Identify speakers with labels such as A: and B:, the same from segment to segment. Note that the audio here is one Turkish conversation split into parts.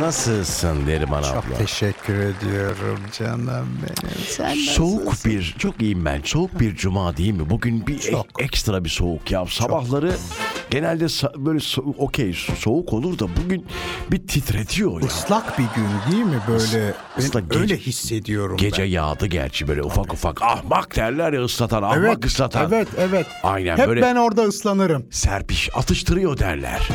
A: Nasılsın Neriman abla?
B: Çok teşekkür ediyorum canım benim. Sen
A: Soğuk bir, çok iyiyim ben. Soğuk bir cuma değil mi? Bugün bir
B: Çok.
A: ek- ekstra bir soğuk ya. Sabahları genelde sa- böyle so- okey so- soğuk olur da bugün bir titretiyor ya.
B: Islak bir gün değil mi böyle? Ben
A: Islak gece-
B: öyle hissediyorum
A: Gece
B: ben.
A: yağdı gerçi böyle ufak ufak. Ahmak derler ya ıslatan, ahmak ıslatan.
B: evet, evet.
A: Aynen
B: Hep
A: böyle-
B: ben orada ıslanırım.
A: Serpiş atıştırıyor derler.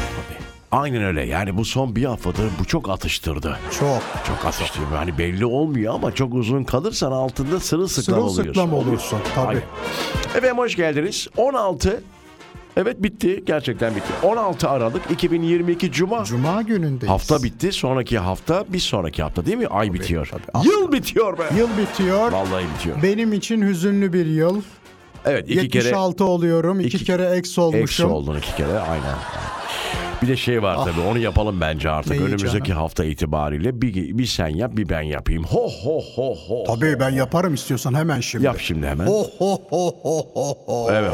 A: Aynen öyle. Yani bu son bir haftadır bu çok atıştırdı.
B: Çok.
A: Çok atıştırıyor. Hani belli olmuyor ama çok uzun kalırsan altında sırılsıklam oluyorsun.
B: Sırılsıklam olursun tabii.
A: Aynen. Efendim hoş geldiniz. 16 Evet bitti. Gerçekten bitti. 16 Aralık 2022 Cuma.
B: Cuma günündeyiz.
A: Hafta bitti. Sonraki hafta bir sonraki hafta değil mi? Ay bitiyor. Yıl bitiyor be.
B: Yıl bitiyor.
A: Vallahi bitiyor.
B: Benim için hüzünlü bir yıl.
A: Evet iki kere
B: 76 oluyorum. iki,
A: iki-
B: kere eks
A: Eksi
B: olmuşum.
A: oldun iki kere aynen. Bir de şey
B: Ah.
A: var tabii onu yapalım bence artık.
B: Neyi
A: Önümüzdeki hafta itibariyle bir, bir sen yap bir ben yapayım. Ho ho ho ho.
B: Tabii ben yaparım istiyorsan hemen şimdi.
A: Yap şimdi hemen.
B: Ho ho ho ho ho ho.
A: Evet.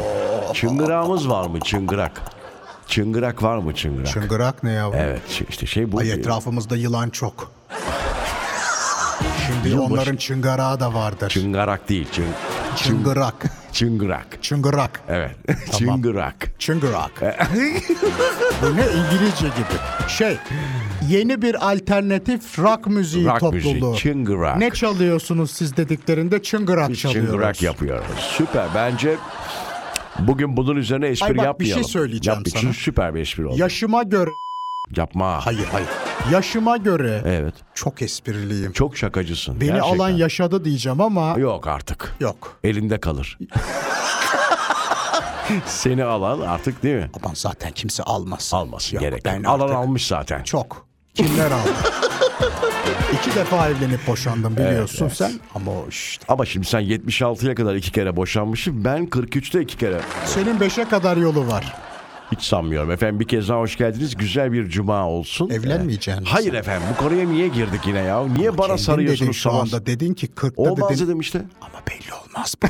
A: Çıngırağımız var mı çıngırak? Çıngırak var mı çıngırak?
B: Çıngırak ne yavrum?
A: Evet ş- işte şey bu.
B: Ay etrafımızda yılan çok. Şimdi
A: Yılbaşı-
B: onların çıngarağı da vardır.
A: Çıngarak değil çıng-
B: çıngırak.
A: çıngırak.
B: Çıngırak.
A: Evet. çıngırak.
B: Çıngırak.
A: E.
B: Bu ne İngilizce gibi. Şey, yeni bir alternatif rock müziği
A: Rock
B: topluluğu.
A: müziği, çıngırak.
B: Ne çalıyorsunuz siz dediklerinde çıngırak çalıyoruz.
A: Çıngırak yapıyoruz. Süper bence bugün bunun üzerine espri
B: Ay bak, bir şey
A: yapmayalım.
B: söyleyeceğim
A: Yapmayın.
B: sana.
A: Süper bir espri oldu.
B: Yaşıma göre.
A: Yapma.
B: Hayır hayır. Yaşıma göre.
A: Evet.
B: Çok espriliyim.
A: Çok şakacısın.
B: Beni
A: E, gerçekten.
B: alan yaşadı diyeceğim ama
A: Yok artık.
B: yok.
A: Elinde kalır. Seni alan artık değil mi?
B: Aman zaten kimse almaz.
A: Alması
B: Yok,
A: gerek.
B: ben
A: yok. Alan
B: artık-
A: almış zaten.
B: Çok. Kimler aldı? İki defa evlenip boşandım biliyorsun sen. Ama o işte.
A: Ama şimdi sen 76'ya kadar iki kere boşanmışsın. Ben 43'te iki kere.
B: Senin beşe kadar yolu var.
A: Hiç sanmıyorum. Efendim bir kez daha hoş geldiniz. Güzel bir cuma olsun. Ee,
B: Evlenmeyeceğin.
A: Hayır efendim bu konuya niye girdik yine ya? Niye bana
B: Kendin dedin
A: sarıyorsunuz
B: şu
A: sabah?
B: anda. Dedin ki 40'ta
A: Olmaz
B: dedin.
A: dedim işte.
B: Ama belli olmaz. bu.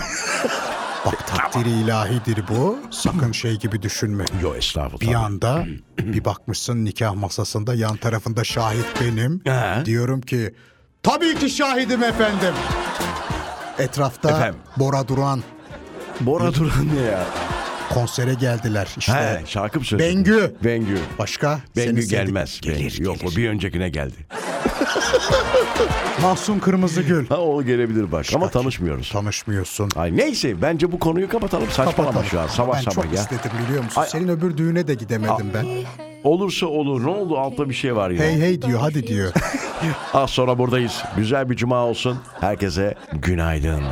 B: Bak takdiri ilahidir bu. Sakın şey gibi düşünme.
A: Yo estağfurullah.
B: Bir anda bir bakmışsın nikah masasında yan tarafında şahit benim.
A: He.
B: Diyorum ki tabii ki şahidim efendim. Etrafta
A: Efendim.
B: Bora Duran
A: Bora Duran ne ya?
B: konsere geldiler. İşte
A: He, şarkı mı söylüyorsun?
B: Bengü.
A: Bengü.
B: Başka?
A: Bengü
B: Seni sevdik-
A: gelmez.
B: Gelir,
A: Bengü. Yok
B: gelir.
A: o bir öncekine geldi.
B: Mahsun Kırmızıgül.
A: Ha o gelebilir bak ama
B: Kaç-
A: tanışmıyoruz.
B: Tanışmıyorsun.
A: Ay neyse bence bu konuyu kapatalım. Saçmalama şu an. Sabah
B: ben
A: sabah
B: çok
A: ya.
B: istedim biliyor musun?
A: Ay-
B: Senin öbür düğüne de gidemedim ben.
A: Olursa olur. Ne oldu? Altta bir şey var yine.
B: Hey hey diyor hadi diyor.
A: Az sonra buradayız. Güzel bir cuma olsun. Herkese günaydın.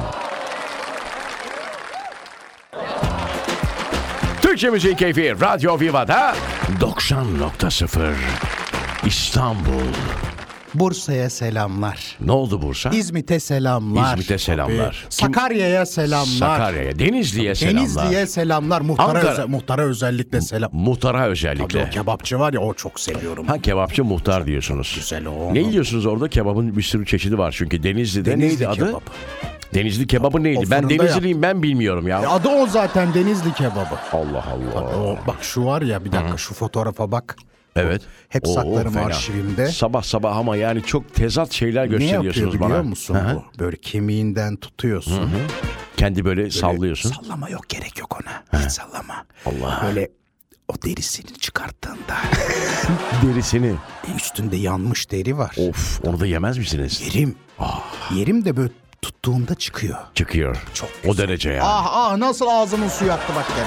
A: Türkçe Müziği Keyfi Radyo Viva'da 90.0 İstanbul.
B: Bursa'ya selamlar.
A: Ne oldu Bursa?
B: İzmit'e selamlar.
A: İzmit'e selamlar.
B: Tabii. Sakarya'ya selamlar.
A: Sakarya'ya, Denizli'ye selamlar.
B: Denizli'ye selamlar. Muhtara,
A: Ankara.
B: özel- muhtara özellikle selam.
A: Muhtara
B: Tabii
A: özellikle.
B: o kebapçı var ya o çok seviyorum.
A: Ha kebapçı muhtar diyorsunuz.
B: Güzel o.
A: Ne yiyorsunuz orada? Kebabın bir sürü çeşidi var çünkü. Denizli'de
B: Denizli
A: neydi adı?
B: kebabı.
A: Denizli kebabı neydi?
B: O
A: ben
B: fırında
A: Denizliyim ben bilmiyorum ya.
B: E, Adı o zaten Denizli kebabı.
A: Allah Allah.
B: O, bak şu var ya bir dakika şu fotoğrafa bak.
A: Evet.
B: Hep saklarım arşivimde.
A: Sabah sabah ama yani çok tezat şeyler
B: Ne yapıyor
A: gösteriyorsunuz
B: biliyor
A: bana.
B: musun
A: Hı hı.
B: bu? Böyle kemiğinden tutuyorsun.
A: Kendi böyle, sallıyorsun.
B: Sallama yok gerek yok ona. Hiç sallama.
A: Allah.
B: Böyle o derisini çıkarttığında
A: Derisini.
B: üstünde yanmış deri var.
A: Of onu da yemez misiniz?
B: Yerim.
A: Ah.
B: Yerim de böyle tuttuğumda çıkıyor.
A: Çıkıyor.
B: Çok
A: o derece yani.
B: Ah ah nasıl ağzımın suyu aktı bak gene.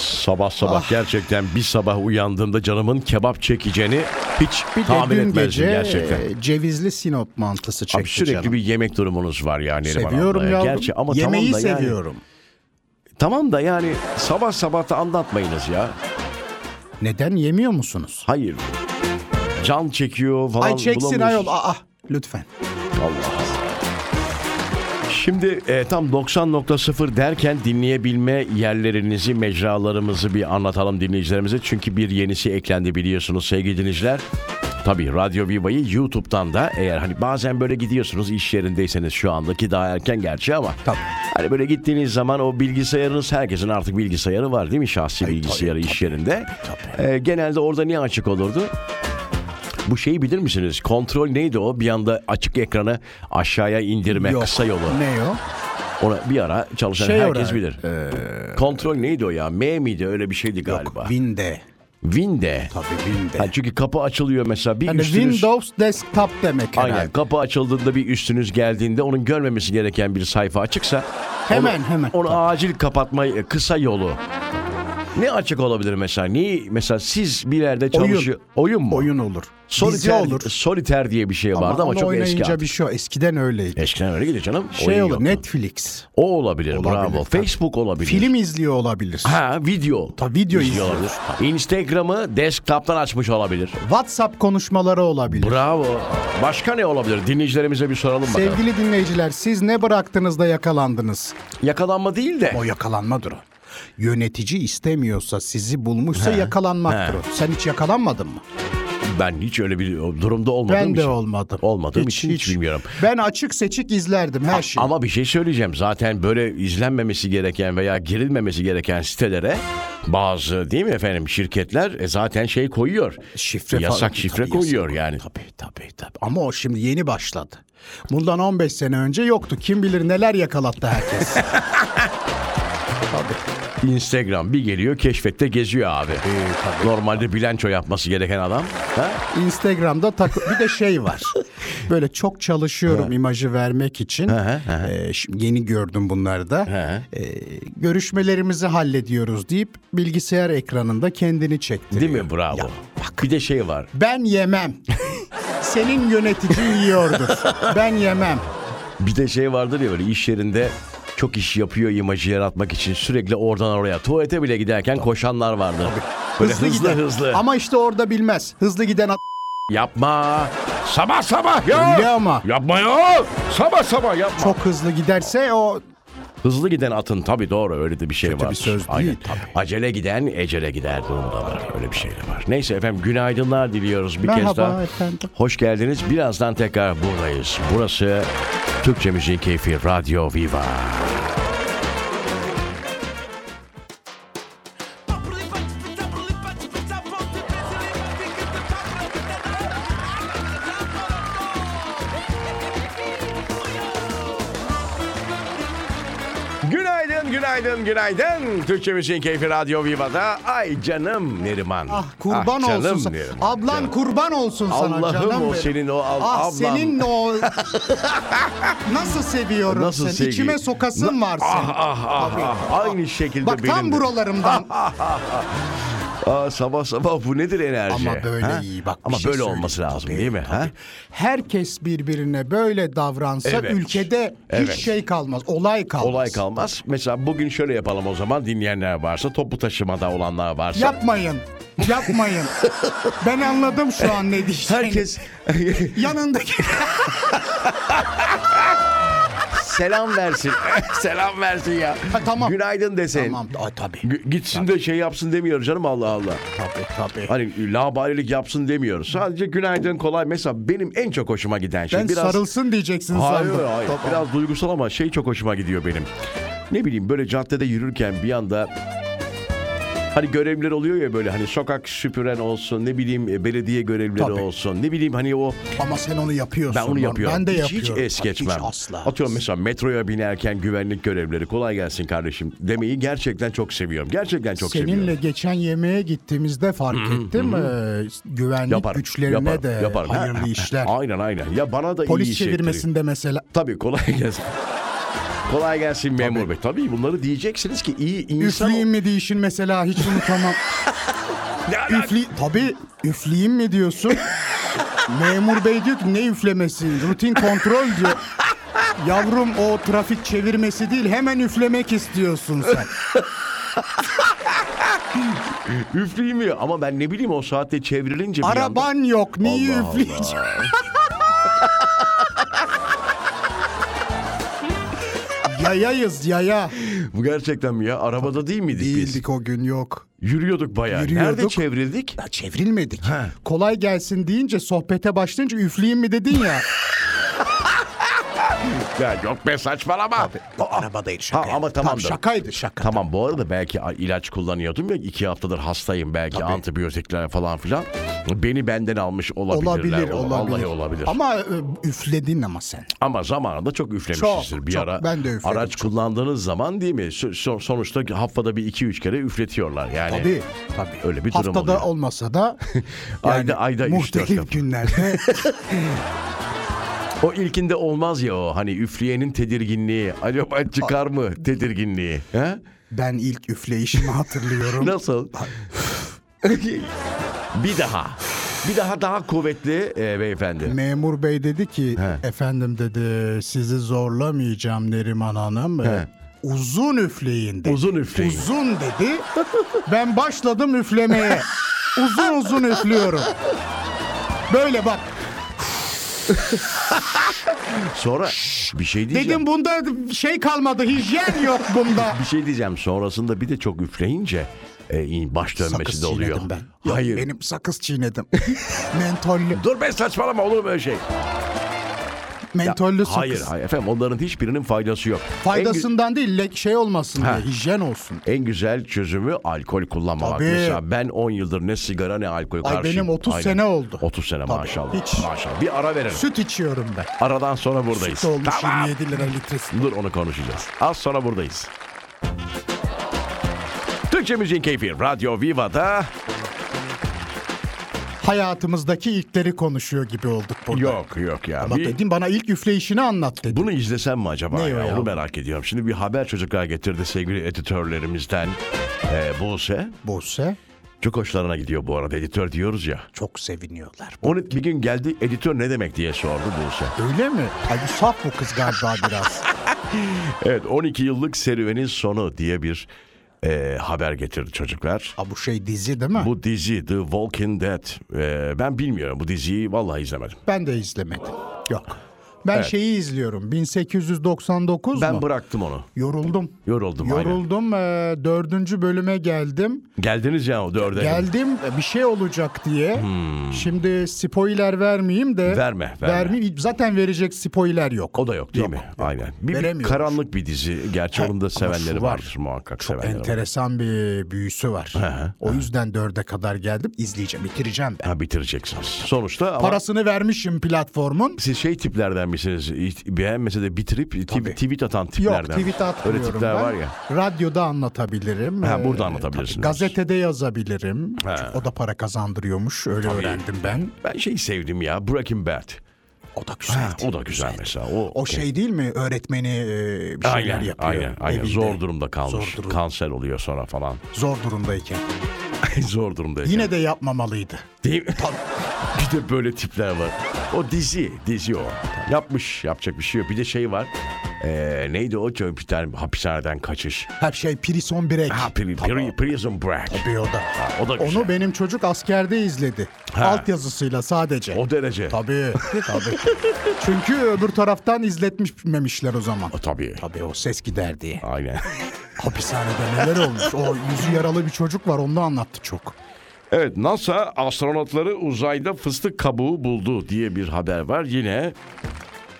A: Sabah sabah
B: Ah!
A: gerçekten bir sabah uyandığımda canımın kebap çekeceğini hiç
B: Bir
A: tahmin
B: de dün
A: etmezdim
B: gece
A: gerçekten.
B: e, cevizli sinop mantısı çekti
A: Abi sürekli
B: canım.
A: bir yemek durumunuz var yani. Neriman
B: Seviyorum
A: abla
B: yavrum.
A: Gerçi ama
B: Yemeği
A: tamam da yani-
B: seviyorum.
A: Tamam da yani sabah sabah da anlatmayınız ya.
B: Neden yemiyor musunuz?
A: Hayır. Can çekiyor falan.
B: Ay çeksin
A: bulamıyorsun.
B: ayol ah ah lütfen.
A: Allah Şimdi e, tam 90.0 derken dinleyebilme yerlerinizi, mecralarımızı bir anlatalım dinleyicilerimize. Çünkü bir yenisi eklendi biliyorsunuz sevgili dinleyiciler. Tabii Radyo Viva'yı YouTube'dan da eğer hani bazen böyle gidiyorsunuz iş yerindeyseniz şu andaki daha erken gerçi ama.
B: Tabii.
A: Hani böyle gittiğiniz zaman o bilgisayarınız herkesin artık bilgisayarı var Ee, değil mi şahsi bilgisayarı iş yerinde. E, genelde orada niye açık olurdu? Bu şeyi bilir misiniz? Kontrol neydi o? Bir anda açık ekranı aşağıya indirme
B: Yok.
A: kısa yolu.
B: Ne o?
A: Ona bir ara çalışan
B: Şey e,
A: herkes
B: olarak,
A: bilir. Kontrol neydi o ya? M miydi? Öyle bir şeydi galiba.
B: Winde.
A: Winde.
B: Tabii Winde.
A: Ha, çünkü kapı açılıyor mesela bir
B: Yani
A: üstünüz...
B: Windows desktop demek herhalde.
A: Aynen. Kapı açıldığında bir üstünüz geldiğinde onun görmemesi gereken bir sayfa açıksa
B: Hemen,
A: onu,
B: hemen.
A: onu acil kapatma e, kısa yolu. Ne açık olabilir mesela? Niye mesela siz bir yerde çalışıyor. Oyun, mu?
B: Oyun olur. Dizi
A: Soliter,
B: olur.
A: Soliter diye bir şey vardı ama,
B: onu
A: çok eski.
B: oynayınca
A: artık.
B: bir şey o. Eskiden öyleydi.
A: Eskiden öyle gidiyor canım.
B: şey
A: Oyun
B: olur
A: yoktu.
B: Netflix.
A: O olabilir, bravo.
B: tabii.
A: Facebook olabilir.
B: Film izliyor olabilir.
A: Ha video.
B: Tabii video
A: İzliyor
B: izliyor.
A: olabilir. Instagram'ı desktop'tan açmış olabilir.
B: WhatsApp konuşmaları olabilir.
A: Bravo. Başka ne olabilir? Dinleyicilerimize bir soralım bakalım.
B: Sevgili dinleyiciler siz ne bıraktınız da yakalandınız?
A: Yakalanma değil de.
B: O yakalanmadır o. Yönetici istemiyorsa sizi bulmuşsa yakalanmaktır
A: he.
B: o. Sen hiç yakalanmadın mı?
A: Ben hiç öyle bir durumda olmadım.
B: Ben de olmadım.
A: Olmadığım için hiç bilmiyorum.
B: Ben açık seçik izlerdim her şeyi.
A: Ama bir şey söyleyeceğim. Zaten böyle izlenmemesi gereken veya girilmemesi gereken sitelere bazı değil mi efendim şirketler e, zaten şey koyuyor.
B: Şifre
A: yasak
B: falan-
A: şifre
B: Tabii,
A: koyuyor
B: yasak.
A: yani.
B: Tabii tabii tabii. Ama o şimdi yeni başladı. Bundan 15 sene önce yoktu. Kim bilir neler yakalattı herkes. tabii. Ee,
A: Instagram bir geliyor keşfette geziyor abi. Normalde bilanço yapması gereken adam. Ha?
B: Instagram'da takı bir de şey var. Böyle çok çalışıyorum imajı vermek için.
A: hı,
B: Ee, şimdi yeni gördüm bunları da.
A: hı.
B: Ee, görüşmelerimizi hallediyoruz deyip bilgisayar ekranında kendini çekti.
A: Değil mi bravo? Bir de şey var.
B: Ben yemem. Senin yöneticin yiyordur. Ben yemem.
A: Bir de şey vardır ya böyle iş yerinde çok iş yapıyor imajı yaratmak için sürekli oradan oraya tuvalete bile giderken koşanlar vardır. Böyle hızlı hızlı,
B: giden. Ama işte orada bilmez. Hızlı giden at.
A: Yapma. Sabah sabah ya.
B: Öyle ama.
A: Yapma ya. Sabah sabah yapma.
B: Çok hızlı giderse o
A: Hızlı giden atın tabii doğru öyle de bir şey var.
B: bir söz değil tabii.
A: Acele giden ecele gider durumda var. Öyle bir şey de var. Neyse efendim günaydınlar diliyoruz bir kez
B: Merhaba
A: daha.
B: efendim.
A: Hoş geldiniz. Birazdan tekrar buradayız. Burası Türkçe Müziğin Keyfi Radyo Viva. Günaydın, günaydın, günaydın. Türkçe Müziğin Keyfi Radyo Viva'da. Ay canım Neriman.
B: ah kurban
A: Ah canım
B: olsun. sana.
A: Neriman,
B: Ablan
A: canım.
B: kurban olsun sana
A: Allah'ım
B: canım
A: o
B: benim.
A: senin o al-
B: ah
A: ablan.
B: senin o Nasıl seviyorum
A: Nasıl
B: seni.
A: sevgi-
B: İçime sokasın var senin.
A: Ah ah ah,
B: Tabii.
A: ah. Aynı şekilde
B: Bak
A: benim
B: tam
A: de. Ah.
B: buralarımdan.
A: Aa, sabah sabah bu nedir enerji?
B: Ama böyle iyi bak. bir
A: Ama
B: şey
A: böyle olması
B: söyleyeyim.
A: lazım
B: Tabii,
A: değil mi? Ha?
B: Herkes birbirine böyle davransa
A: Evet.
B: ülkede
A: Evet.
B: hiç şey kalmaz. Olay kalmaz.
A: Olay kalmaz. Mesela bugün şöyle yapalım o zaman dinleyenler varsa toplu taşımada olanlar varsa.
B: Yapmayın. Yapmayın. ben anladım şu an ne diyeceğini.
A: Herkes
B: yanındaki
A: selam versin. selam versin ya.
B: Ha, tamam.
A: Günaydın desin.
B: Tamam. Ay, tabii.
A: G- gitsin de şey yapsın demiyor canım Allah Allah.
B: Tabii tabii.
A: Hani labalilik yapsın demiyoruz. Sadece günaydın kolay. Mesela benim en çok hoşuma giden şey
B: Ben
A: biraz...
B: sarılsın diyeceksin
A: Hayır
B: sandım.
A: hayır.
B: Tamam.
A: Biraz duygusal ama şey çok hoşuma gidiyor benim. Ne bileyim böyle caddede yürürken bir anda hani görevliler oluyor ya böyle hani sokak süpüren olsun ne bileyim e, belediye görevlileri
B: Tabii.
A: olsun ne bileyim hani o
B: Ama sen onu yapıyorsun.
A: ben onu
B: lan.
A: yapıyorum.
B: Ben de
A: hiç, hiç
B: yapıyorum.
A: es geçmem.
B: Hiç asla.
A: Atıyorum mesela metroya binerken güvenlik görevlileri kolay gelsin kardeşim demeyi gerçekten çok seviyorum. Gerçekten çok
B: Seninle
A: seviyorum.
B: geçen yemeğe gittiğimizde fark ettim. Ee, güvenlik
A: Yaparım,
B: güçlerine
A: yaparım,
B: de
A: yaparım.
B: hayırlı işler.
A: Aynen aynen. Ya bana da iyi
B: Polis
A: hissettiriyor.
B: çevirmesinde mesela.
A: Tabii kolay gelsin. kolay gelsin memur bey. Tabii bunları diyeceksiniz ki iyi insan...
B: Üfleyeyim mi diyişin mesela hiç unutamam.
A: Ne alaka?
B: Üfli, tabii üfleyeyim mi diyorsun? Memur bey diyor ki ne üflemesi? Rutin kontrol diyor. Yavrum o trafik çevirmesi değil hemen üflemek istiyorsun sen.
A: Üfleyeyim mi? Ama ben ne bileyim o saatte çevrilince bir anda...
B: Araban yok niye
A: Allah
B: üfleyeceksin? Yayayız yaya.
A: Bu gerçekten mi ya? Arabada değil miydik biz?
B: Değildik o gün yok.
A: Yürüyorduk bayağı.
B: Yürüyorduk.
A: Nerede çevrildik?
B: Ya çevrilmedik. Kolay gelsin deyince sohbete başlayınca üfleyeyim mi dedin ya.
A: Ya yok be saçmalama.
C: Arabadaydı şaka.
A: Ha, ama tamamdır.
C: şakaydı şaka.
A: Tamam bu arada belki a- ilaç kullanıyordum ya iki haftadır hastayım belki antibiyotikler falan filan. Beni benden almış olabilirler.
B: Olabilir,
A: O-
B: olabilir.
A: Vallahi olabilir. Ama,
C: Ama e, üfledin ama sen.
A: zamanında çok üflemişsinizdir
B: Çok,
A: bir
B: çok.
A: ara.
B: Ben de üfledim
A: Araç kullandığınız zaman değil mi? So- so- sonuçta haftada bir iki üç kere üfletiyorlar yani.
B: Tabii.
C: Tabii.
A: Öyle bir durum
B: Haftada
A: oluyor.
B: olmasa da
A: Ayda- ayda üç, dört
B: muhtelif
A: defa.
B: günlerde
A: O ilkinde olmaz ya o hani üfleyenin tedirginliği. Acaba çıkar mı tedirginliği? He?
B: ben ilk üfleyişimi hatırlıyorum.
A: Nasıl? bir daha. Bir daha daha kuvvetli e, beyefendi.
B: Memur bey dedi ki efendim dedi sizi zorlamayacağım Neriman Hanım. Uzun üfleyin dedi.
A: Uzun üfleyin.
B: Uzun dedi. ben başladım üflemeye. uzun uzun üflüyorum. Böyle bak.
A: Sonra bir şey diyeceğim.
B: Dedim bunda şey kalmadı. Hijyen yok bunda.
A: Bir şey diyeceğim. Sonrasında bir de çok üfleyince e, in- baş dönmesi
C: Sakız
A: de oluyor.
C: çiğnedim ben.
B: Yok,
A: Hayır.
B: Benim sakız çiğnedim. mentollü.
A: Dur be saçmalama olur mu öyle şey?
B: Mentollü sakız.
A: Hayır hayır efendim onların hiçbirinin faydası yok. En, gü-
B: Faydasından değil le- şey olmasın
A: Ha.
B: diye hijyen olsun.
A: en güzel çözümü alkol kullanmamak.
B: Tabii.
A: Mesela ben 10 yıldır ne sigara ne alkol
B: Ay,
A: karşıyım.
B: benim 30
A: Aynen.
B: sene oldu.
A: 30 sene maşallah.
B: Hiç.
A: Maşallah. Bir ara verelim.
B: Süt içiyorum ben.
A: Aradan sonra buradayız.
B: Süt olmuş
A: Tamam.
B: 27 lira litresi.
A: Dur onu konuşacağız. Az sonra buradayız. Türkçe Müziğin Keyfi Radyo Viva'da
B: Hayatımızdaki ilkleri konuşuyor gibi olduk burada.
A: yok yok ya.
B: Bak
A: Bir-
B: dedim bana ilk üfleyişini anlat dedi.
A: Bunu izlesem mi acaba?
B: Ne
A: ya?
B: o ya?
A: Onu merak ediyorum. Şimdi bir haber çocuklar getirdi sevgili editörlerimizden. Ee, Buse.
C: Buse
A: Çok hoşlarına gidiyor bu arada editör diyoruz ya.
C: çok seviniyorlar.
A: Onu bir gün geldi editör ne demek diye sordu Buse.
B: Öyle mi? Ay bu saf bu kız galiba biraz.
A: Evet 12 yıllık serüvenin sonu diye bir e, haber getirdi çocuklar.
B: Ha bu şey dizi değil mi?
A: Bu dizi The Walking Dead. e, ben bilmiyorum bu diziyi vallahi izlemedim.
B: Ben de izlemedim. Yok. Ben şeyi izliyorum. 1899
A: Ben
B: mu?
A: bıraktım onu.
B: Yoruldum.
A: Yoruldum. aynen.
B: Yoruldum. Ee, dördüncü bölüme geldim.
A: Geldiniz ya o dörde.
B: Geldim e, bir şey olacak diye. Şimdi spoiler vermeyeyim de.
A: Hmm. Verme, verme.
B: Vermeyeyim. Zaten verecek spoiler yok.
A: O da yok değil mi? Aynen. Bir- Bir,
B: Veremiyoruz.
A: karanlık bir dizi. Gerçi onun da sevenleri
B: şu var.
A: vardır muhakkak sevenleri. var.
B: Enteresan bir büyüsü var. o yüzden dörde kadar geldim. İzleyeceğim, bitireceğim ben.
A: Ha bitireceksiniz. Sonuçta ama
B: Parasını vermişim platformun.
A: siz şey tiplerden misiniz? İt- Beğenmese de bitirip tip- tweet atan tiplerden.
B: Yok tweet atmıyorum
A: Öyle tipler
B: ben.
A: var ya.
B: Radyoda anlatabilirim.
A: Ha, burada
B: Ee,
A: anlatabilirsiniz.
B: tabii Gazetede yazabilirim. Çünkü O da para kazandırıyormuş. Öyle öğrendim ben.
A: Ben şeyi sevdim ya. Breaking Bad.
C: O da güzel.
A: O da güzel mesela. O,
B: O şey değil mi? Öğretmeni e, bir şeyler
A: aynen,
B: yapıyor.
A: Aynen, aynen.
B: evinde.
A: Zor durumda kalmış.
B: Zor durum.
A: Kanser oluyor sonra falan.
B: Zor durumdayken.
A: Zor durumda.
B: Yine de yapmamalıydı.
A: Değil mi? bir de böyle tipler var. O dizi, dizi o. Yapmış, yapacak bir şey yok. Bir de şey var. Ee, neydi o? Çok Bir tane hapishaneden kaçış.
B: Her şey prison break.
A: Ha, pri- pri- prison break.
B: Bir o da.
A: o da güzel.
B: Onu benim çocuk askerde izledi.
A: Ha.
B: Alt yazısıyla sadece.
A: O derece.
B: Tabii, tabii. Çünkü öbür taraftan izletmemişler o zaman.
A: O Tabii.
B: Tabii o ses gider diye.
A: Aynen.
B: Hapishanede neler olmuş? O yüzü yaralı bir çocuk var onu anlattı çok.
A: Evet NASA astronotları uzayda fıstık kabuğu buldu diye bir haber var. Yine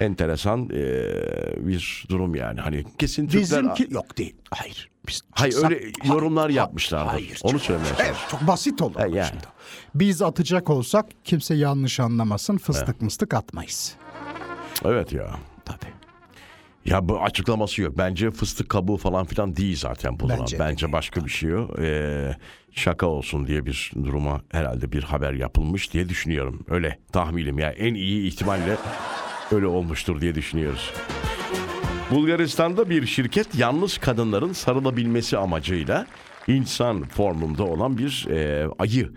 A: enteresan ee, bir durum yani. Hani kesin Türkler...
B: Bizimki
C: Yok değil. Hayır. Biz
A: Hayır
C: çıksak-
A: öyle yorumlar yapmışlardı.
C: hayır,
A: Onu söylemeye
B: Evet, çok basit olur.
A: Ha, yani.
B: Şimdi. Biz atacak olsak kimse yanlış anlamasın fıstık mıstık atmayız.
A: Evet ya.
C: Tabii.
A: Ya bu açıklaması yok. Bence fıstık kabuğu falan filan değil zaten bulunan. Bence,
C: Bence de
A: başka bir şey o. Ee, şaka olsun diye bir duruma herhalde bir haber yapılmış diye düşünüyorum. Öyle tahminim ya. En iyi ihtimalle öyle olmuştur diye düşünüyoruz. Bulgaristan'da bir şirket yalnız kadınların sarılabilmesi amacıyla insan formunda olan bir e, ayı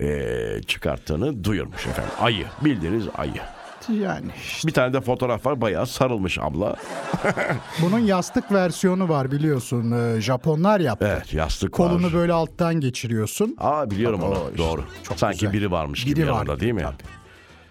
A: e, çıkarttığını duyurmuş efendim. Ayı. Bildiğiniz ayı.
B: Yani işte.
A: Bir tane de fotoğraf var. Bayağı sarılmış abla.
B: bunun yastık versiyonu var biliyorsun. Ee, Japonlar yaptı.
A: Evet yastık
B: Kolunu
A: var.
B: böyle alttan geçiriyorsun.
A: Aa biliyorum onu. Doğru. Sanki
B: güzel.
A: biri varmış gibi
B: Biri var
A: yanında
B: gibi,
A: değil mi?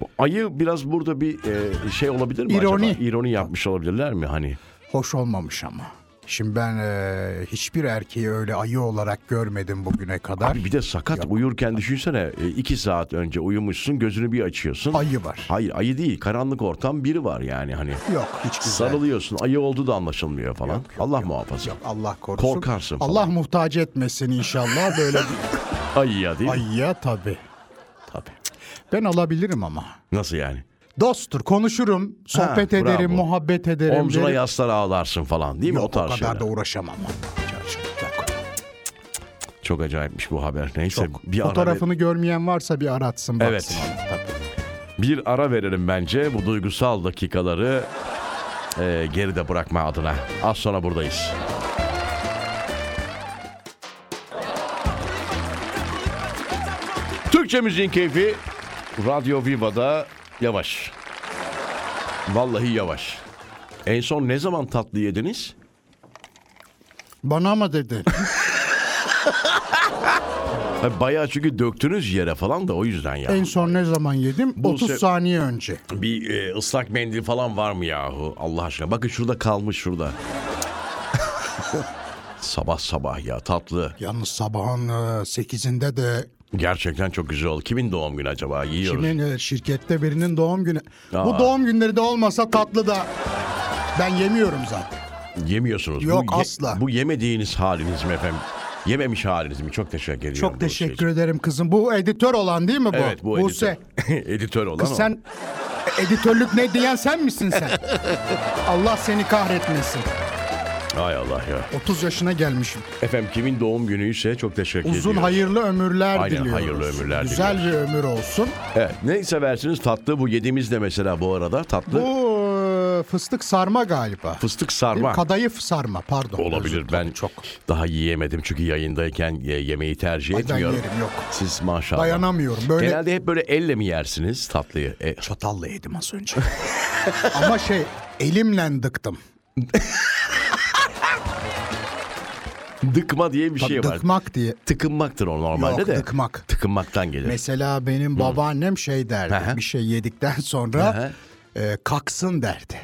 A: Bu Ayı biraz burada bir e, şey olabilir mi
B: İroni.
A: acaba? İroni yapmış olabilirler mi hani?
B: Hoş olmamış ama. Şimdi ben e, hiçbir erkeği öyle ayı olarak görmedim bugüne kadar.
A: Abi bir de sakat uyurken düşünsene e, iki saat önce uyumuşsun gözünü bir açıyorsun.
B: Ayı var.
A: Hayır ayı değil karanlık ortam biri var yani hani.
B: Yok hiç güzel.
A: Sarılıyorsun ayı olduğu da anlaşılmıyor falan. Allah muhafaza.
B: Allah korusun.
A: Korkarsın falan.
B: Allah muhtaç etmesin inşallah böyle
A: Ayıya değil mi?
B: ayıya tabii. Tabii. Ben alabilirim ama.
A: Nasıl yani?
B: Dosttur konuşurum, sohbet
A: Ha,
B: ederim,
A: bravo.
B: muhabbet ederim.
A: Omzuna
B: derim.
A: yaslar ağlarsın falan değil mi
B: Yok,
A: o tarz şeyler.
B: kadar da uğraşamam. Yok.
A: Çok acayipmiş bu haber. Neyse Şey, bir ara
B: Fotoğrafını görmeyen varsa bir aratsın baksın.
A: Evet.
B: ona. Tabii.
A: bir ara verelim bence bu duygusal dakikaları e, geride bırakma adına. Az sonra buradayız. Türkçe müziğin keyfi Radyo Viva'da yavaş. Vallahi yavaş. En son ne zaman tatlı yediniz?
B: Bana mı dedi?
A: Ha, Bayağı çünkü döktünüz yere falan da o yüzden ya.
B: en son ne zaman yedim?
A: Bu
B: 30
A: se-
B: saniye önce.
A: Bir e, ıslak mendil falan var mı yahu Allah aşkına? Bakın şurada kalmış şurada. sabah sabah ya tatlı.
B: Yalnız sabahın 8'inde de
A: Gerçekten çok güzel oldu. Kimin doğum günü acaba? Yiyoruz.
B: kimin e, şirkette birinin doğum günü.
A: Aa.
B: Bu doğum günleri de olmasa tatlı da ben yemiyorum zaten.
A: Yemiyorsunuz.
B: Yok,
A: bu, ye-
B: asla.
A: bu yemediğiniz haliniz mi efendim? Yememiş haliniz mi? Çok teşekkür ediyorum.
B: Çok
A: bu
B: teşekkür
A: şey için.
B: ederim kızım. Bu editör olan değil mi bu?
A: Evet bu
B: Buse.
A: editör. editör olan
B: Kız
A: o.
B: sen e, editörlük ne diyen sen misin sen? Allah seni kahretmesin.
A: Hay Allah ya.
B: 30 yaşına gelmişim.
A: Efendim kimin doğum günüyse çok teşekkür
B: Uzun
A: ediyorum.
B: hayırlı ömürler
A: Aynen,
B: diliyoruz.
A: hayırlı ömürler
B: Güzel bir ömür olsun.
A: Evet, ne seversiniz tatlı bu yediğimiz de mesela bu arada tatlı.
B: Bu e, fıstık sarma galiba.
A: Fıstık
B: Değil mi?
A: sarma.
B: Kadayıf sarma pardon.
A: Olabilir. Ben çok daha yiyemedim çünkü yayındayken ye- yemeği tercih
B: Ay, ben
A: etmiyorum.
B: yerim, yok.
A: Siz maşallah.
B: Dayanamıyorum. Böyle
A: Genelde hep böyle elle mi yersiniz tatlıyı? E,
C: Çatalla yedim az önce.
B: ama şey elimle dıktım.
A: dıkma diye bir şey var.
B: Dıkmak diye.
A: Tıkınmaktır o normalde
B: Yok,
A: de.
B: dıkmak.
A: Tıkınmaktan gelir.
B: Mesela
A: Hmm.
B: benim babaannem şey derdi.
A: Aha.
B: Bir şey yedikten
A: Aha.
B: sonra e, kaksın derdi.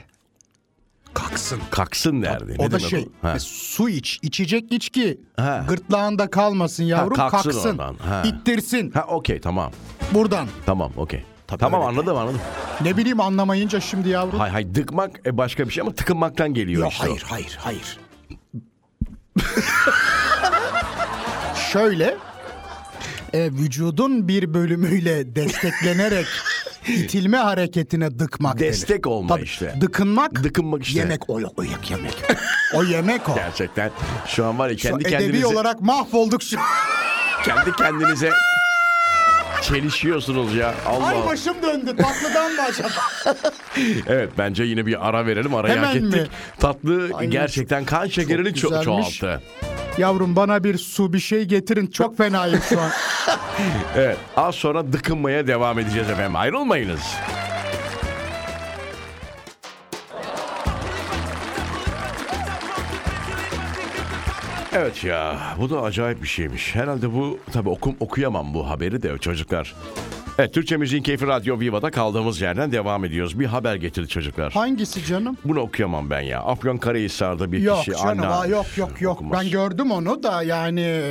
B: Kaksın.
A: Kaksın derdi.
B: O da
A: demek
B: şey
A: Ha.
B: e, su iç, içecek içki.
A: Ha.
B: Gırtlağında kalmasın yavrum.
A: kalksın
B: kaksın.
A: oradan, ha.
B: İttirsin
A: ha okey tamam.
B: buradan.
A: Tamam okey. Tamam
B: öyle.
A: anladım anladım.
B: Ne bileyim anlamayınca şimdi yavrum.
A: Hay hay dıkmak e, başka bir şey ama tıkınmaktan geliyor
C: Yok
A: işte. o.
C: hayır hayır hayır.
B: Şöyle e, vücudun bir bölümüyle desteklenerek itilme hareketine dıkmak denir.
A: Destek olma işte.
B: Dıkınmak,
A: Dıkınmak işte.
B: yemek o yok o yok yemek. o yemek o.
A: Gerçekten şu an var ya
B: Şu
A: kendi
B: edebi
A: kendinize,
B: olarak mahvolduk şu.
A: kendi kendinize çelişiyorsunuz ya. Allah.
B: Ay başım döndü. Tatlıdan mı acaba?
A: Evet bence yine bir ara verelim. Arayı
B: Hemen
A: hak ettik.
B: mi?
A: Tatlı
B: Aynen.
A: gerçekten kan şekerini ço-
B: güzelmiş.
A: çoğalttı.
B: Yavrum bana bir su bir şey getirin. Çok fenayım şu an.
A: Evet az sonra dıkınmaya devam edeceğiz efendim. Ayrılmayınız. Evet ya bu da acayip bir şeymiş. Herhalde bu tabi okum okuyamam bu haberi de çocuklar. Evet Türkçe Müziğin Keyfi Radyo Viva'da kaldığımız yerden devam ediyoruz. Bir haber getirdi çocuklar.
B: Hangisi canım?
A: Bunu okuyamam ben ya. Afyon Karahisar'da bir
B: Yok
A: kişi
B: canım.
A: anne
B: aa, yok yok yok.
A: okumaz.
B: Ben gördüm onu da yani.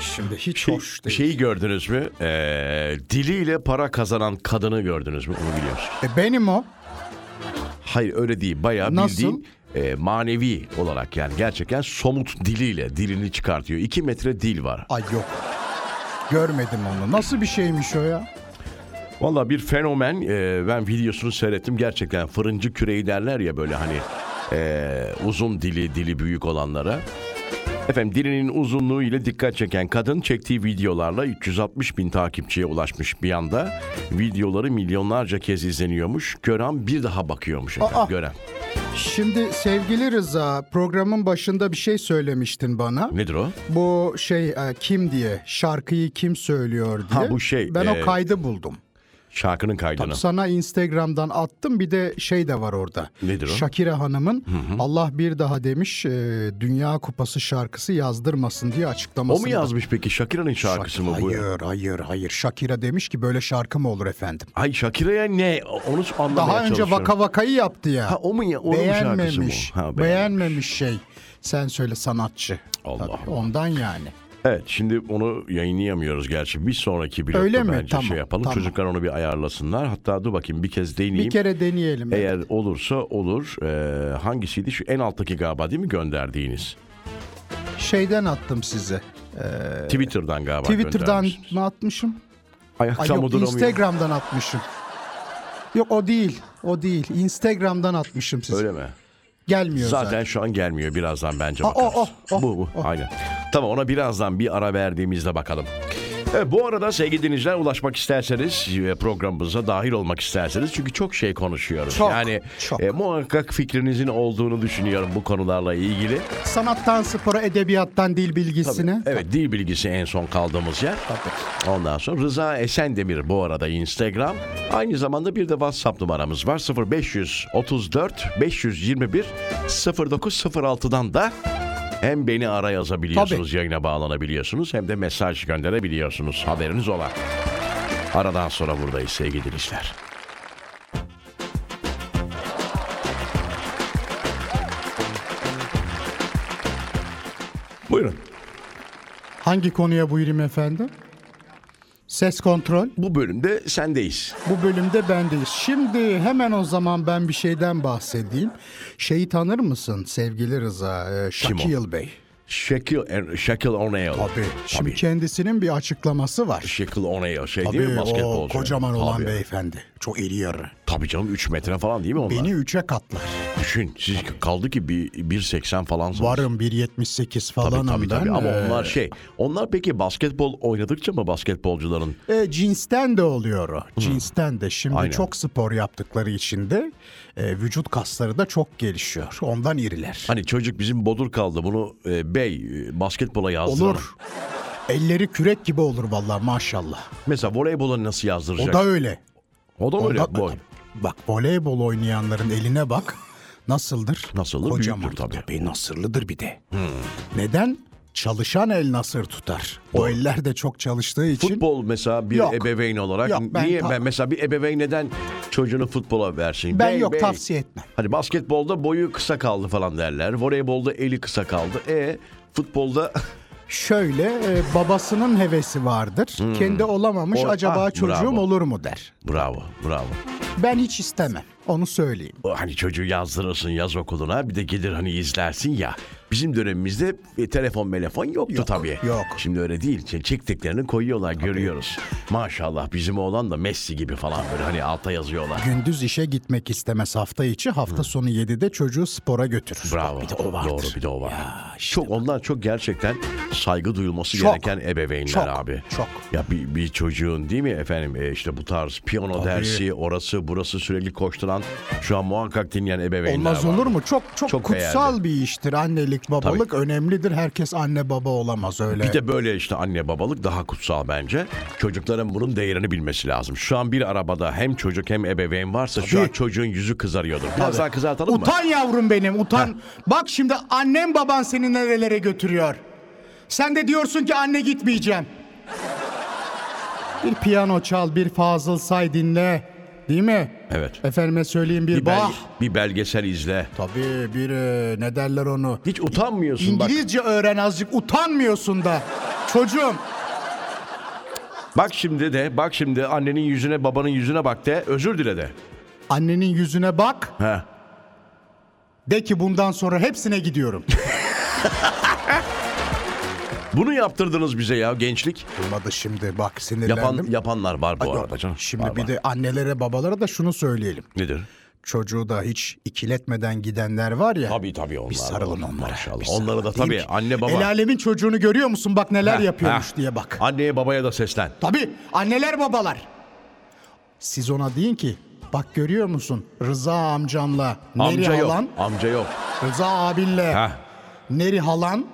B: Şimdi hiç
A: Şey-
B: hoş değil.
A: Şeyi gördünüz mü? Ee, diliyle para kazanan kadını gördünüz mü? Onu biliyorsunuz.
B: E, benim o.
A: Hayır öyle değil. Bayağı
B: Nasıl?
A: bildiğin e, manevi olarak yani gerçekten somut diliyle dilini çıkartıyor. 2 metre dil var.
B: Ay yok. Görmedim onu. Nasıl bir şeymiş o ya?
A: Valla bir fenomen. e, ben videosunu seyrettim. Gerçekten fırıncı küreği derler ya böyle hani e, uzun dili, dili büyük olanlara. Efendim dilinin uzunluğu ile dikkat çeken kadın çektiği videolarla 360 bin takipçiye ulaşmış bir anda. Videoları milyonlarca kez izleniyormuş. Gören bir daha bakıyormuş efendim
B: Aa!
A: gören.
B: Şimdi sevgili Rıza programın başında bir şey söylemiştin bana.
A: Nedir o?
B: Bu şey e, kim diye şarkıyı kim söylüyor diye.
A: Ha, bu şey,
B: Ben
A: e,
B: o kaydı buldum.
A: Şarkının kaydını.
B: Sana Instagram'dan attım bir de şey de var orada.
A: Nedir o?
B: Shakira Hanım'ın Allah bir daha demiş e, Dünya Kupası şarkısı yazdırmasın diye
A: O
B: açıklaması.
A: mu yazmış peki? Shakira'nın şarkısı mı bu?
B: Hayır hayır hayır. Shakira demiş ki böyle şarkı mı olur efendim?
A: Ay Shakira'ya ne? Onu anlamaya
B: Daha önce
A: çalışıyorum.
B: vaka vakayı yaptı ya.
A: Ha, o mu ya? Onun şarkısı mı?
B: beğenmemiş.
A: o? Ha, beğen-
B: beğenmemiş şey. Sen söyle sanatçı.
A: Allah
B: Tabii,
A: Allah.
B: Ondan yani.
A: Evet şimdi onu yayınlayamıyoruz gerçi. Bir sonraki blokta
B: Öyle mi?
A: bence
B: Tamam,
A: şey yapalım.
B: tamam.
A: Çocuklar onu bir ayarlasınlar. Hatta dur bakayım bir kez deneyeyim.
B: Bir kere deneyelim.
A: Eğer olursa olur. Ee, hangisiydi? Şu en alttaki galiba değil mi gönderdiğiniz?
B: Şeyden attım size.
A: Twitter'dan galiba
B: Ee, Twitter'dan
A: göndermişsiniz.
B: mı atmışım?
A: Ayakta
B: Ay
A: mı
B: yok
A: duramıyorum?
B: Instagram'dan atmışım. Yok o değil. O değil. Instagram'dan atmışım size.
A: Öyle mi?
B: Gelmiyor zaten.
A: Zaten şu an gelmiyor. Birazdan bence
B: Aa,
A: bakarız.
B: o, o, o,
A: bu bu. Aynen. Tamam ona birazdan bir ara verdiğimizde bakalım. Evet, bu arada sevgili dinleyiciler ulaşmak isterseniz e, programımıza dahil olmak isterseniz çünkü çok şey konuşuyoruz.
B: Çok,
A: yani
B: çok.
A: e, muhakkak fikrinizin olduğunu düşünüyorum bu konularla ilgili.
B: Sanattan spora, edebiyattan dil bilgisine.
A: Evet dil bilgisi en son kaldığımız yer. Ondan sonra Rıza Esendemir bu arada Instagram. Aynı zamanda bir de WhatsApp numaramız var. 0534 521 0906'dan da hem beni ara yazabiliyorsunuz, yayına bağlanabiliyorsunuz hem de mesaj gönderebiliyorsunuz. Haberiniz ola. Aradan sonra buradayız sevgili dinleyiciler. Buyurun.
B: Hangi konuya buyurayım efendim? Ses kontrol.
A: Bu bölümde sendeyiz.
B: Bu bölümde bendeyiz. Şimdi hemen o zaman ben bir şeyden bahsedeyim. Şeyi tanır mısın sevgili Rıza? Ee,
A: Kim o?
B: Şakil Bey.
A: Shaquille, er, Shaquille O'Neal.
B: Tabii. Şimdi
A: Tabii.
B: kendisinin bir açıklaması var.
A: Shaquille O'Neal şey değil mi
B: Tabii o
A: basketbolcu?
B: kocaman olan
A: Tabii.
B: beyefendi. Çok iri yarı.
A: Tabii canım 3 metre falan değil mi onlar?
B: Beni üçe katlar.
A: Düşün siz kaldı ki bir- 1.80 falan.
B: Varım 1.78
A: Tabii
B: falanım
A: tabii tabii
B: ben.
A: ama
B: Ee,
A: onlar şey. Onlar peki basketbol oynadıkça mı basketbolcuların?
B: E, cinsten de oluyor o. Cinsten de. Şimdi
A: Hmm. Aynen.
B: çok spor yaptıkları için de e, vücut kasları da çok gelişiyor. Ondan iriler.
A: Hani çocuk bizim bodur kaldı bunu e, bey e, basketbola yazdıralım.
B: Olur. Elleri kürek gibi olur vallahi maşallah.
A: Mesela voleybola nasıl yazdıracak?
B: O da öyle.
A: O da mı öyle
B: Onda-
A: boy.
B: Bak voleybol oynayanların eline bak. Nasıldır?
A: Nasıldır?
B: Kocaman.
A: Büyüktür tabii. Hmm.
C: Tabii nasırlıdır bir de.
B: Neden? Çalışan el nasır tutar. O eller de çok çalıştığı için.
A: Futbol mesela bir
B: Yok.
A: ebeveyn olarak
B: Yok, ben
A: niye
B: ta-
A: ben mesela bir ebeveyn neden çocuğunu futbola versin?
B: Ben
A: Bey,
B: yok
A: bey.
B: tavsiye etmem.
A: Hani basketbolda boyu kısa kaldı falan derler. Voleybolda eli kısa kaldı. E futbolda
B: Şöyle e, babasının hevesi vardır. Kendi olamamış
A: Hmm. Or-
B: acaba
A: Ah,
B: çocuğum
A: bravo.
B: olur mu der.
A: bravo bravo.
B: Ben hiç istemem. Onu söyleyeyim.
A: O Hani çocuğu yazdırırsın yaz okuluna bir de gelir hani izlersin ya. Bizim dönemimizde e, telefon melefon yoktu tabii.
B: yok.
A: Şimdi öyle değil. Ç- Çektiklerini koyuyorlar görüyoruz. Maşallah bizim oğlan da Messi gibi falan böyle hani alta yazıyorlar.
B: Gündüz işe gitmek istemez hafta içi. Hafta sonu 7'de çocuğu spora götürür.
A: Hmm. Bravo.
C: Bir de o vardır.
A: Doğru bir de o var. çok onlar çok gerçekten saygı duyulması
B: Çok.
A: gereken ebeveynler
B: Çok.
A: abi.
B: Çok.
A: Ya bir, bir çocuğun değil mi efendim e, işte bu tarz piyano dersi orası burası sürekli koşturan şu an muhakkak dinleyen ebeveynler
B: Olmaz
A: var.
B: olur mu? Çok çok,
A: Çok
B: kutsal
A: değerli.
B: bir iştir annelik babalık önemlidir. Herkes anne baba olamaz öyle.
A: Bir de böyle işte anne babalık daha kutsal bence. Çocukların bunun değerini bilmesi lazım. Şu an bir arabada hem çocuk hem ebeveyn varsa şu
B: Tabii.
A: an çocuğun yüzü kızarıyordur. Biraz daha kızartalım mı?
B: Utan yavrum benim utan. Bak şimdi annem baban seni nerelere götürüyor. Sen de diyorsun ki anne gitmeyeceğim. Bir piyano çal, bir Fazıl Say dinle. Değil mi?
A: Evet.
B: Efendime söyleyeyim bir,
A: Bir,
B: E, bah.
A: belge- bir belgesel izle.
B: Tabii bir e, ne derler onu.
A: Hiç utanmıyorsun bak.
B: İngilizce öğren azıcık utanmıyorsun da. Çocuğum
A: Bak şimdi de, bak şimdi annenin yüzüne, babanın yüzüne bak de, özür dile de.
B: annenin yüzüne bak.
A: Ha.
B: De ki bundan sonra hepsine gidiyorum.
A: Bunu yaptırdınız bize ya gençlik.
B: Olmadı şimdi bak
A: Yapan
B: sinirlendim.
A: yapanlar var bu
B: Yok,
A: arada canım.
B: Şimdi
A: Var,
B: bir
A: var.
B: de annelere babalara da şunu söyleyelim.
A: nedir?
B: Çocuğu da hiç ikiletmeden gidenler var ya.
A: Tabii tabii onlar.
B: Bir sarılın
A: var.
B: onlara.
A: Maşallah.
B: bir sarılın.
A: Onlara da
B: Deyin
A: tabii
B: ki,
A: anne baba.
B: El alemin çocuğunu görüyor musun bak neler
A: Heh,
B: yapıyormuş
A: heh.
B: diye bak.
A: Anneye babaya da seslen.
B: Tabii anneler babalar. Siz ona deyin ki bak görüyor musun Rıza amcamla Neri
A: Amca yok.
B: halan
A: Amca yok.
B: Rıza abinle
A: Heh.
B: Neri halan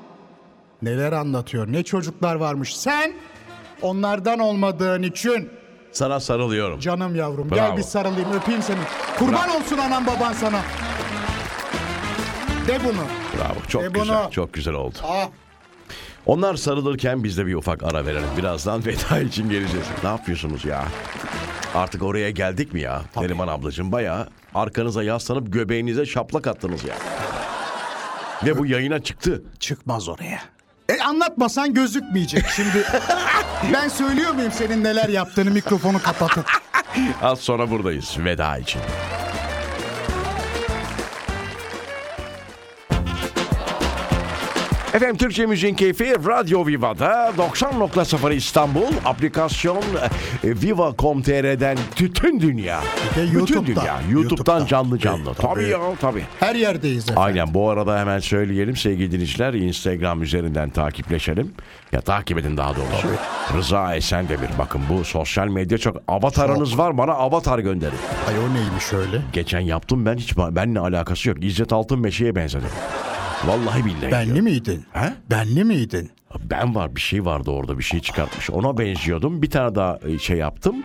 B: neler anlatıyor ne çocuklar varmış sen onlardan olmadığın için
A: Sana sarılıyorum.
B: Canım yavrum
A: Bravo.
B: gel bir sarılayım öpeyim seni. Kurban olsun anam baban sana. De bunu.
A: Bravo. Çok
B: E bunu-
A: güzel. Çok güzel oldu.
B: Ah
A: Onlar sarılırken biz de bir ufak ara verelim. Birazdan veda için geleceğiz. Ne yapıyorsunuz ya? Artık oraya geldik mi ya? Neriman ablacığım bayağı arkanıza yaslanıp göbeğinize şaplak attınız ya. Ve bu yayına çıktı.
C: Çıkmaz oraya.
B: E anlatmasan gözükmeyecek şimdi. ben söylüyor muyum senin neler yaptığını mikrofonu kapatıp?
A: Az sonra buradayız veda için. Efendim Türkçe Müziğin Keyfi Radyo Viva'da 90.0 İstanbul aplikasyon e, Viva.com.tr'den bütün dünya.
B: de
A: Bütün
B: YouTube'da.
A: dünya. YouTube'dan,
B: YouTube'da.
A: canlı canlı.
B: Tabii,
A: Tabii ya tabii.
B: Her yerdeyiz efendim.
A: Aynen bu arada hemen söyleyelim sevgili dinleyiciler Instagram üzerinden takipleşelim. Ya takip edin daha doğrusu. Rıza Esen Demir bakın bu sosyal medya çok avatarınız var bana avatar gönderin.
B: Ay o neymiş öyle?
A: Geçen yaptım ben hiç benimle alakası yok. İzzet Altınmeşe'ye benzedim. Vallahi billahi. Ben,
B: Benli miydin?
A: He?
B: Benli miydin?
A: ben var bir şey vardı orada bir şey çıkartmış. Ona benziyordum. Bir tane daha e, şey yaptım.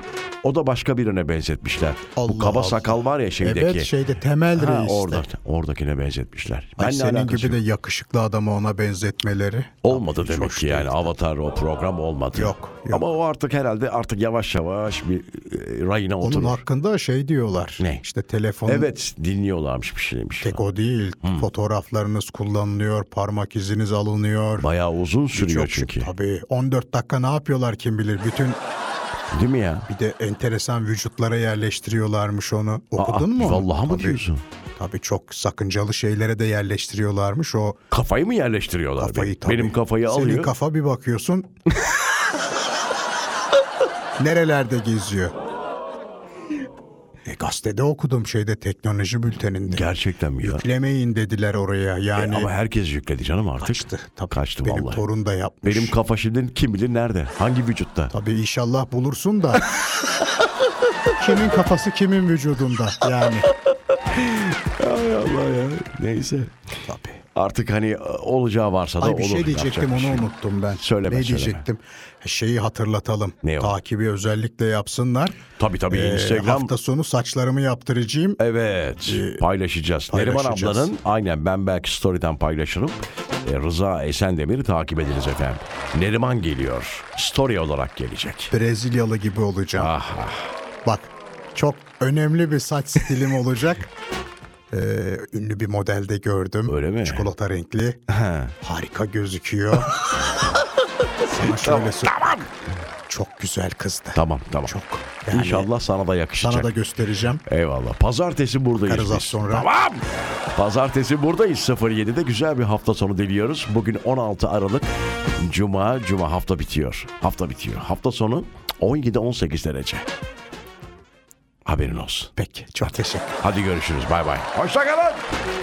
A: O da başka birine benzetmişler. bu
B: Allah
A: kaba
B: Allah.
A: sakal var ya şeydeki.
B: Evet şeyde temel
A: Ha,
B: reiste.
A: orada, oradakine benzetmişler.
B: Ay,
A: Benle
B: senin
A: alakası
B: gibi de yakışıklı adamı ona benzetmeleri.
A: Olmadı
B: Hiç
A: demek
B: hoş
A: ki yani
B: değil.
A: Avatar o program olmadı.
B: Yok, yok.
A: Ama o artık herhalde artık yavaş yavaş bir e, rayına
B: Onun
A: oturur.
B: hakkında şey diyorlar.
A: Ne?
B: İşte telefon
A: Evet dinliyorlarmış bir şeymiş.
B: tek o değil. Fotoğraflarınız kullanılıyor, parmak iziniz alınıyor.
A: Bayağı uzun sürüyor
B: Çok şık.
A: çünkü.
B: Tabii 14 dakika ne yapıyorlar kim bilir. Bütün
A: Değil mi ya?
B: bir de enteresan vücutlara yerleştiriyorlarmış onu.
A: Aa,
B: Okudun mu? onu?
A: Ah, Vallahi mı
B: Tabii.
A: diyorsun?
B: Tabii çok sakıncalı şeylere de yerleştiriyorlarmış o
A: Kafayı mı yerleştiriyorlar?
B: kafayı
A: benim?
B: tabii.
A: Benim kafayı
B: Senin
A: alıyor.
B: kafa bir bakıyorsun. Nerelerde geziyor? E, gazetede okudum şeyde teknoloji bülteninde.
A: Gerçekten mi ya? E,
B: Yüklemeyin dediler oraya yani.
A: Ama herkes yükledi canım artık.
B: kaçtı. Tabii.
A: Kaçtı
B: Benim
A: vallahi.
B: torun da yapmış.
A: Benim kafa şimdi kim bilir nerede? Hangi vücutta?
B: Tabii inşallah bulursun da. kimin kafası kimin vücudunda yani.
A: Ay Allah ya. Neyse.
B: Tabii.
A: Artık hani e, olacağı varsa da
B: Ay
A: olur.
B: bir şey
A: Yapacak
B: diyecektim
A: bir
B: onu
A: şey yok.
B: unuttum ben.
A: Söyleme, söyleme.
B: ne diyecektim? E, Şeyi hatırlatalım.
A: Ne o?
B: Takibi özellikle yapsınlar.
A: Tabii tabii
B: Ee,
A: Instagram
B: Hafta sonu saçlarımı yaptıracağım.
A: Evet paylaşacağız. Neriman
B: Ee, paylaşacağız.
A: ablanın aynen ben belki story'den paylaşırım. E, Rıza Esendemir'i takip ediniz efendim. Neriman geliyor. Story olarak gelecek.
B: Brezilyalı gibi olacağım.
A: Ah, ah.
B: Bak çok önemli bir saç stilim olacak. Ee, ünlü bir modelde gördüm.
A: Öyle mi?
B: Çikolata renkli. Harika gözüküyor. Sana şöyle söyleyeyim. Çok güzel kızdı.
A: Tamam tamam.
B: Yani
A: İnşallah sana da yakışacak.
B: Sana da göstereceğim.
A: Eyvallah. Pazartesi buradayız
B: Bakarız
A: biz.
B: az sonra.
A: şey. Tamam. Pazartesi buradayız 07'de güzel bir hafta sonu diliyoruz. Bugün 16 Aralık Cuma, Cuma hafta bitiyor. Hafta bitiyor. Hafta sonu 17-18 derece. Haberin olsun.
B: Peki çok teşekkür
A: Hadi görüşürüz. Bay bay. Hoşça kalın.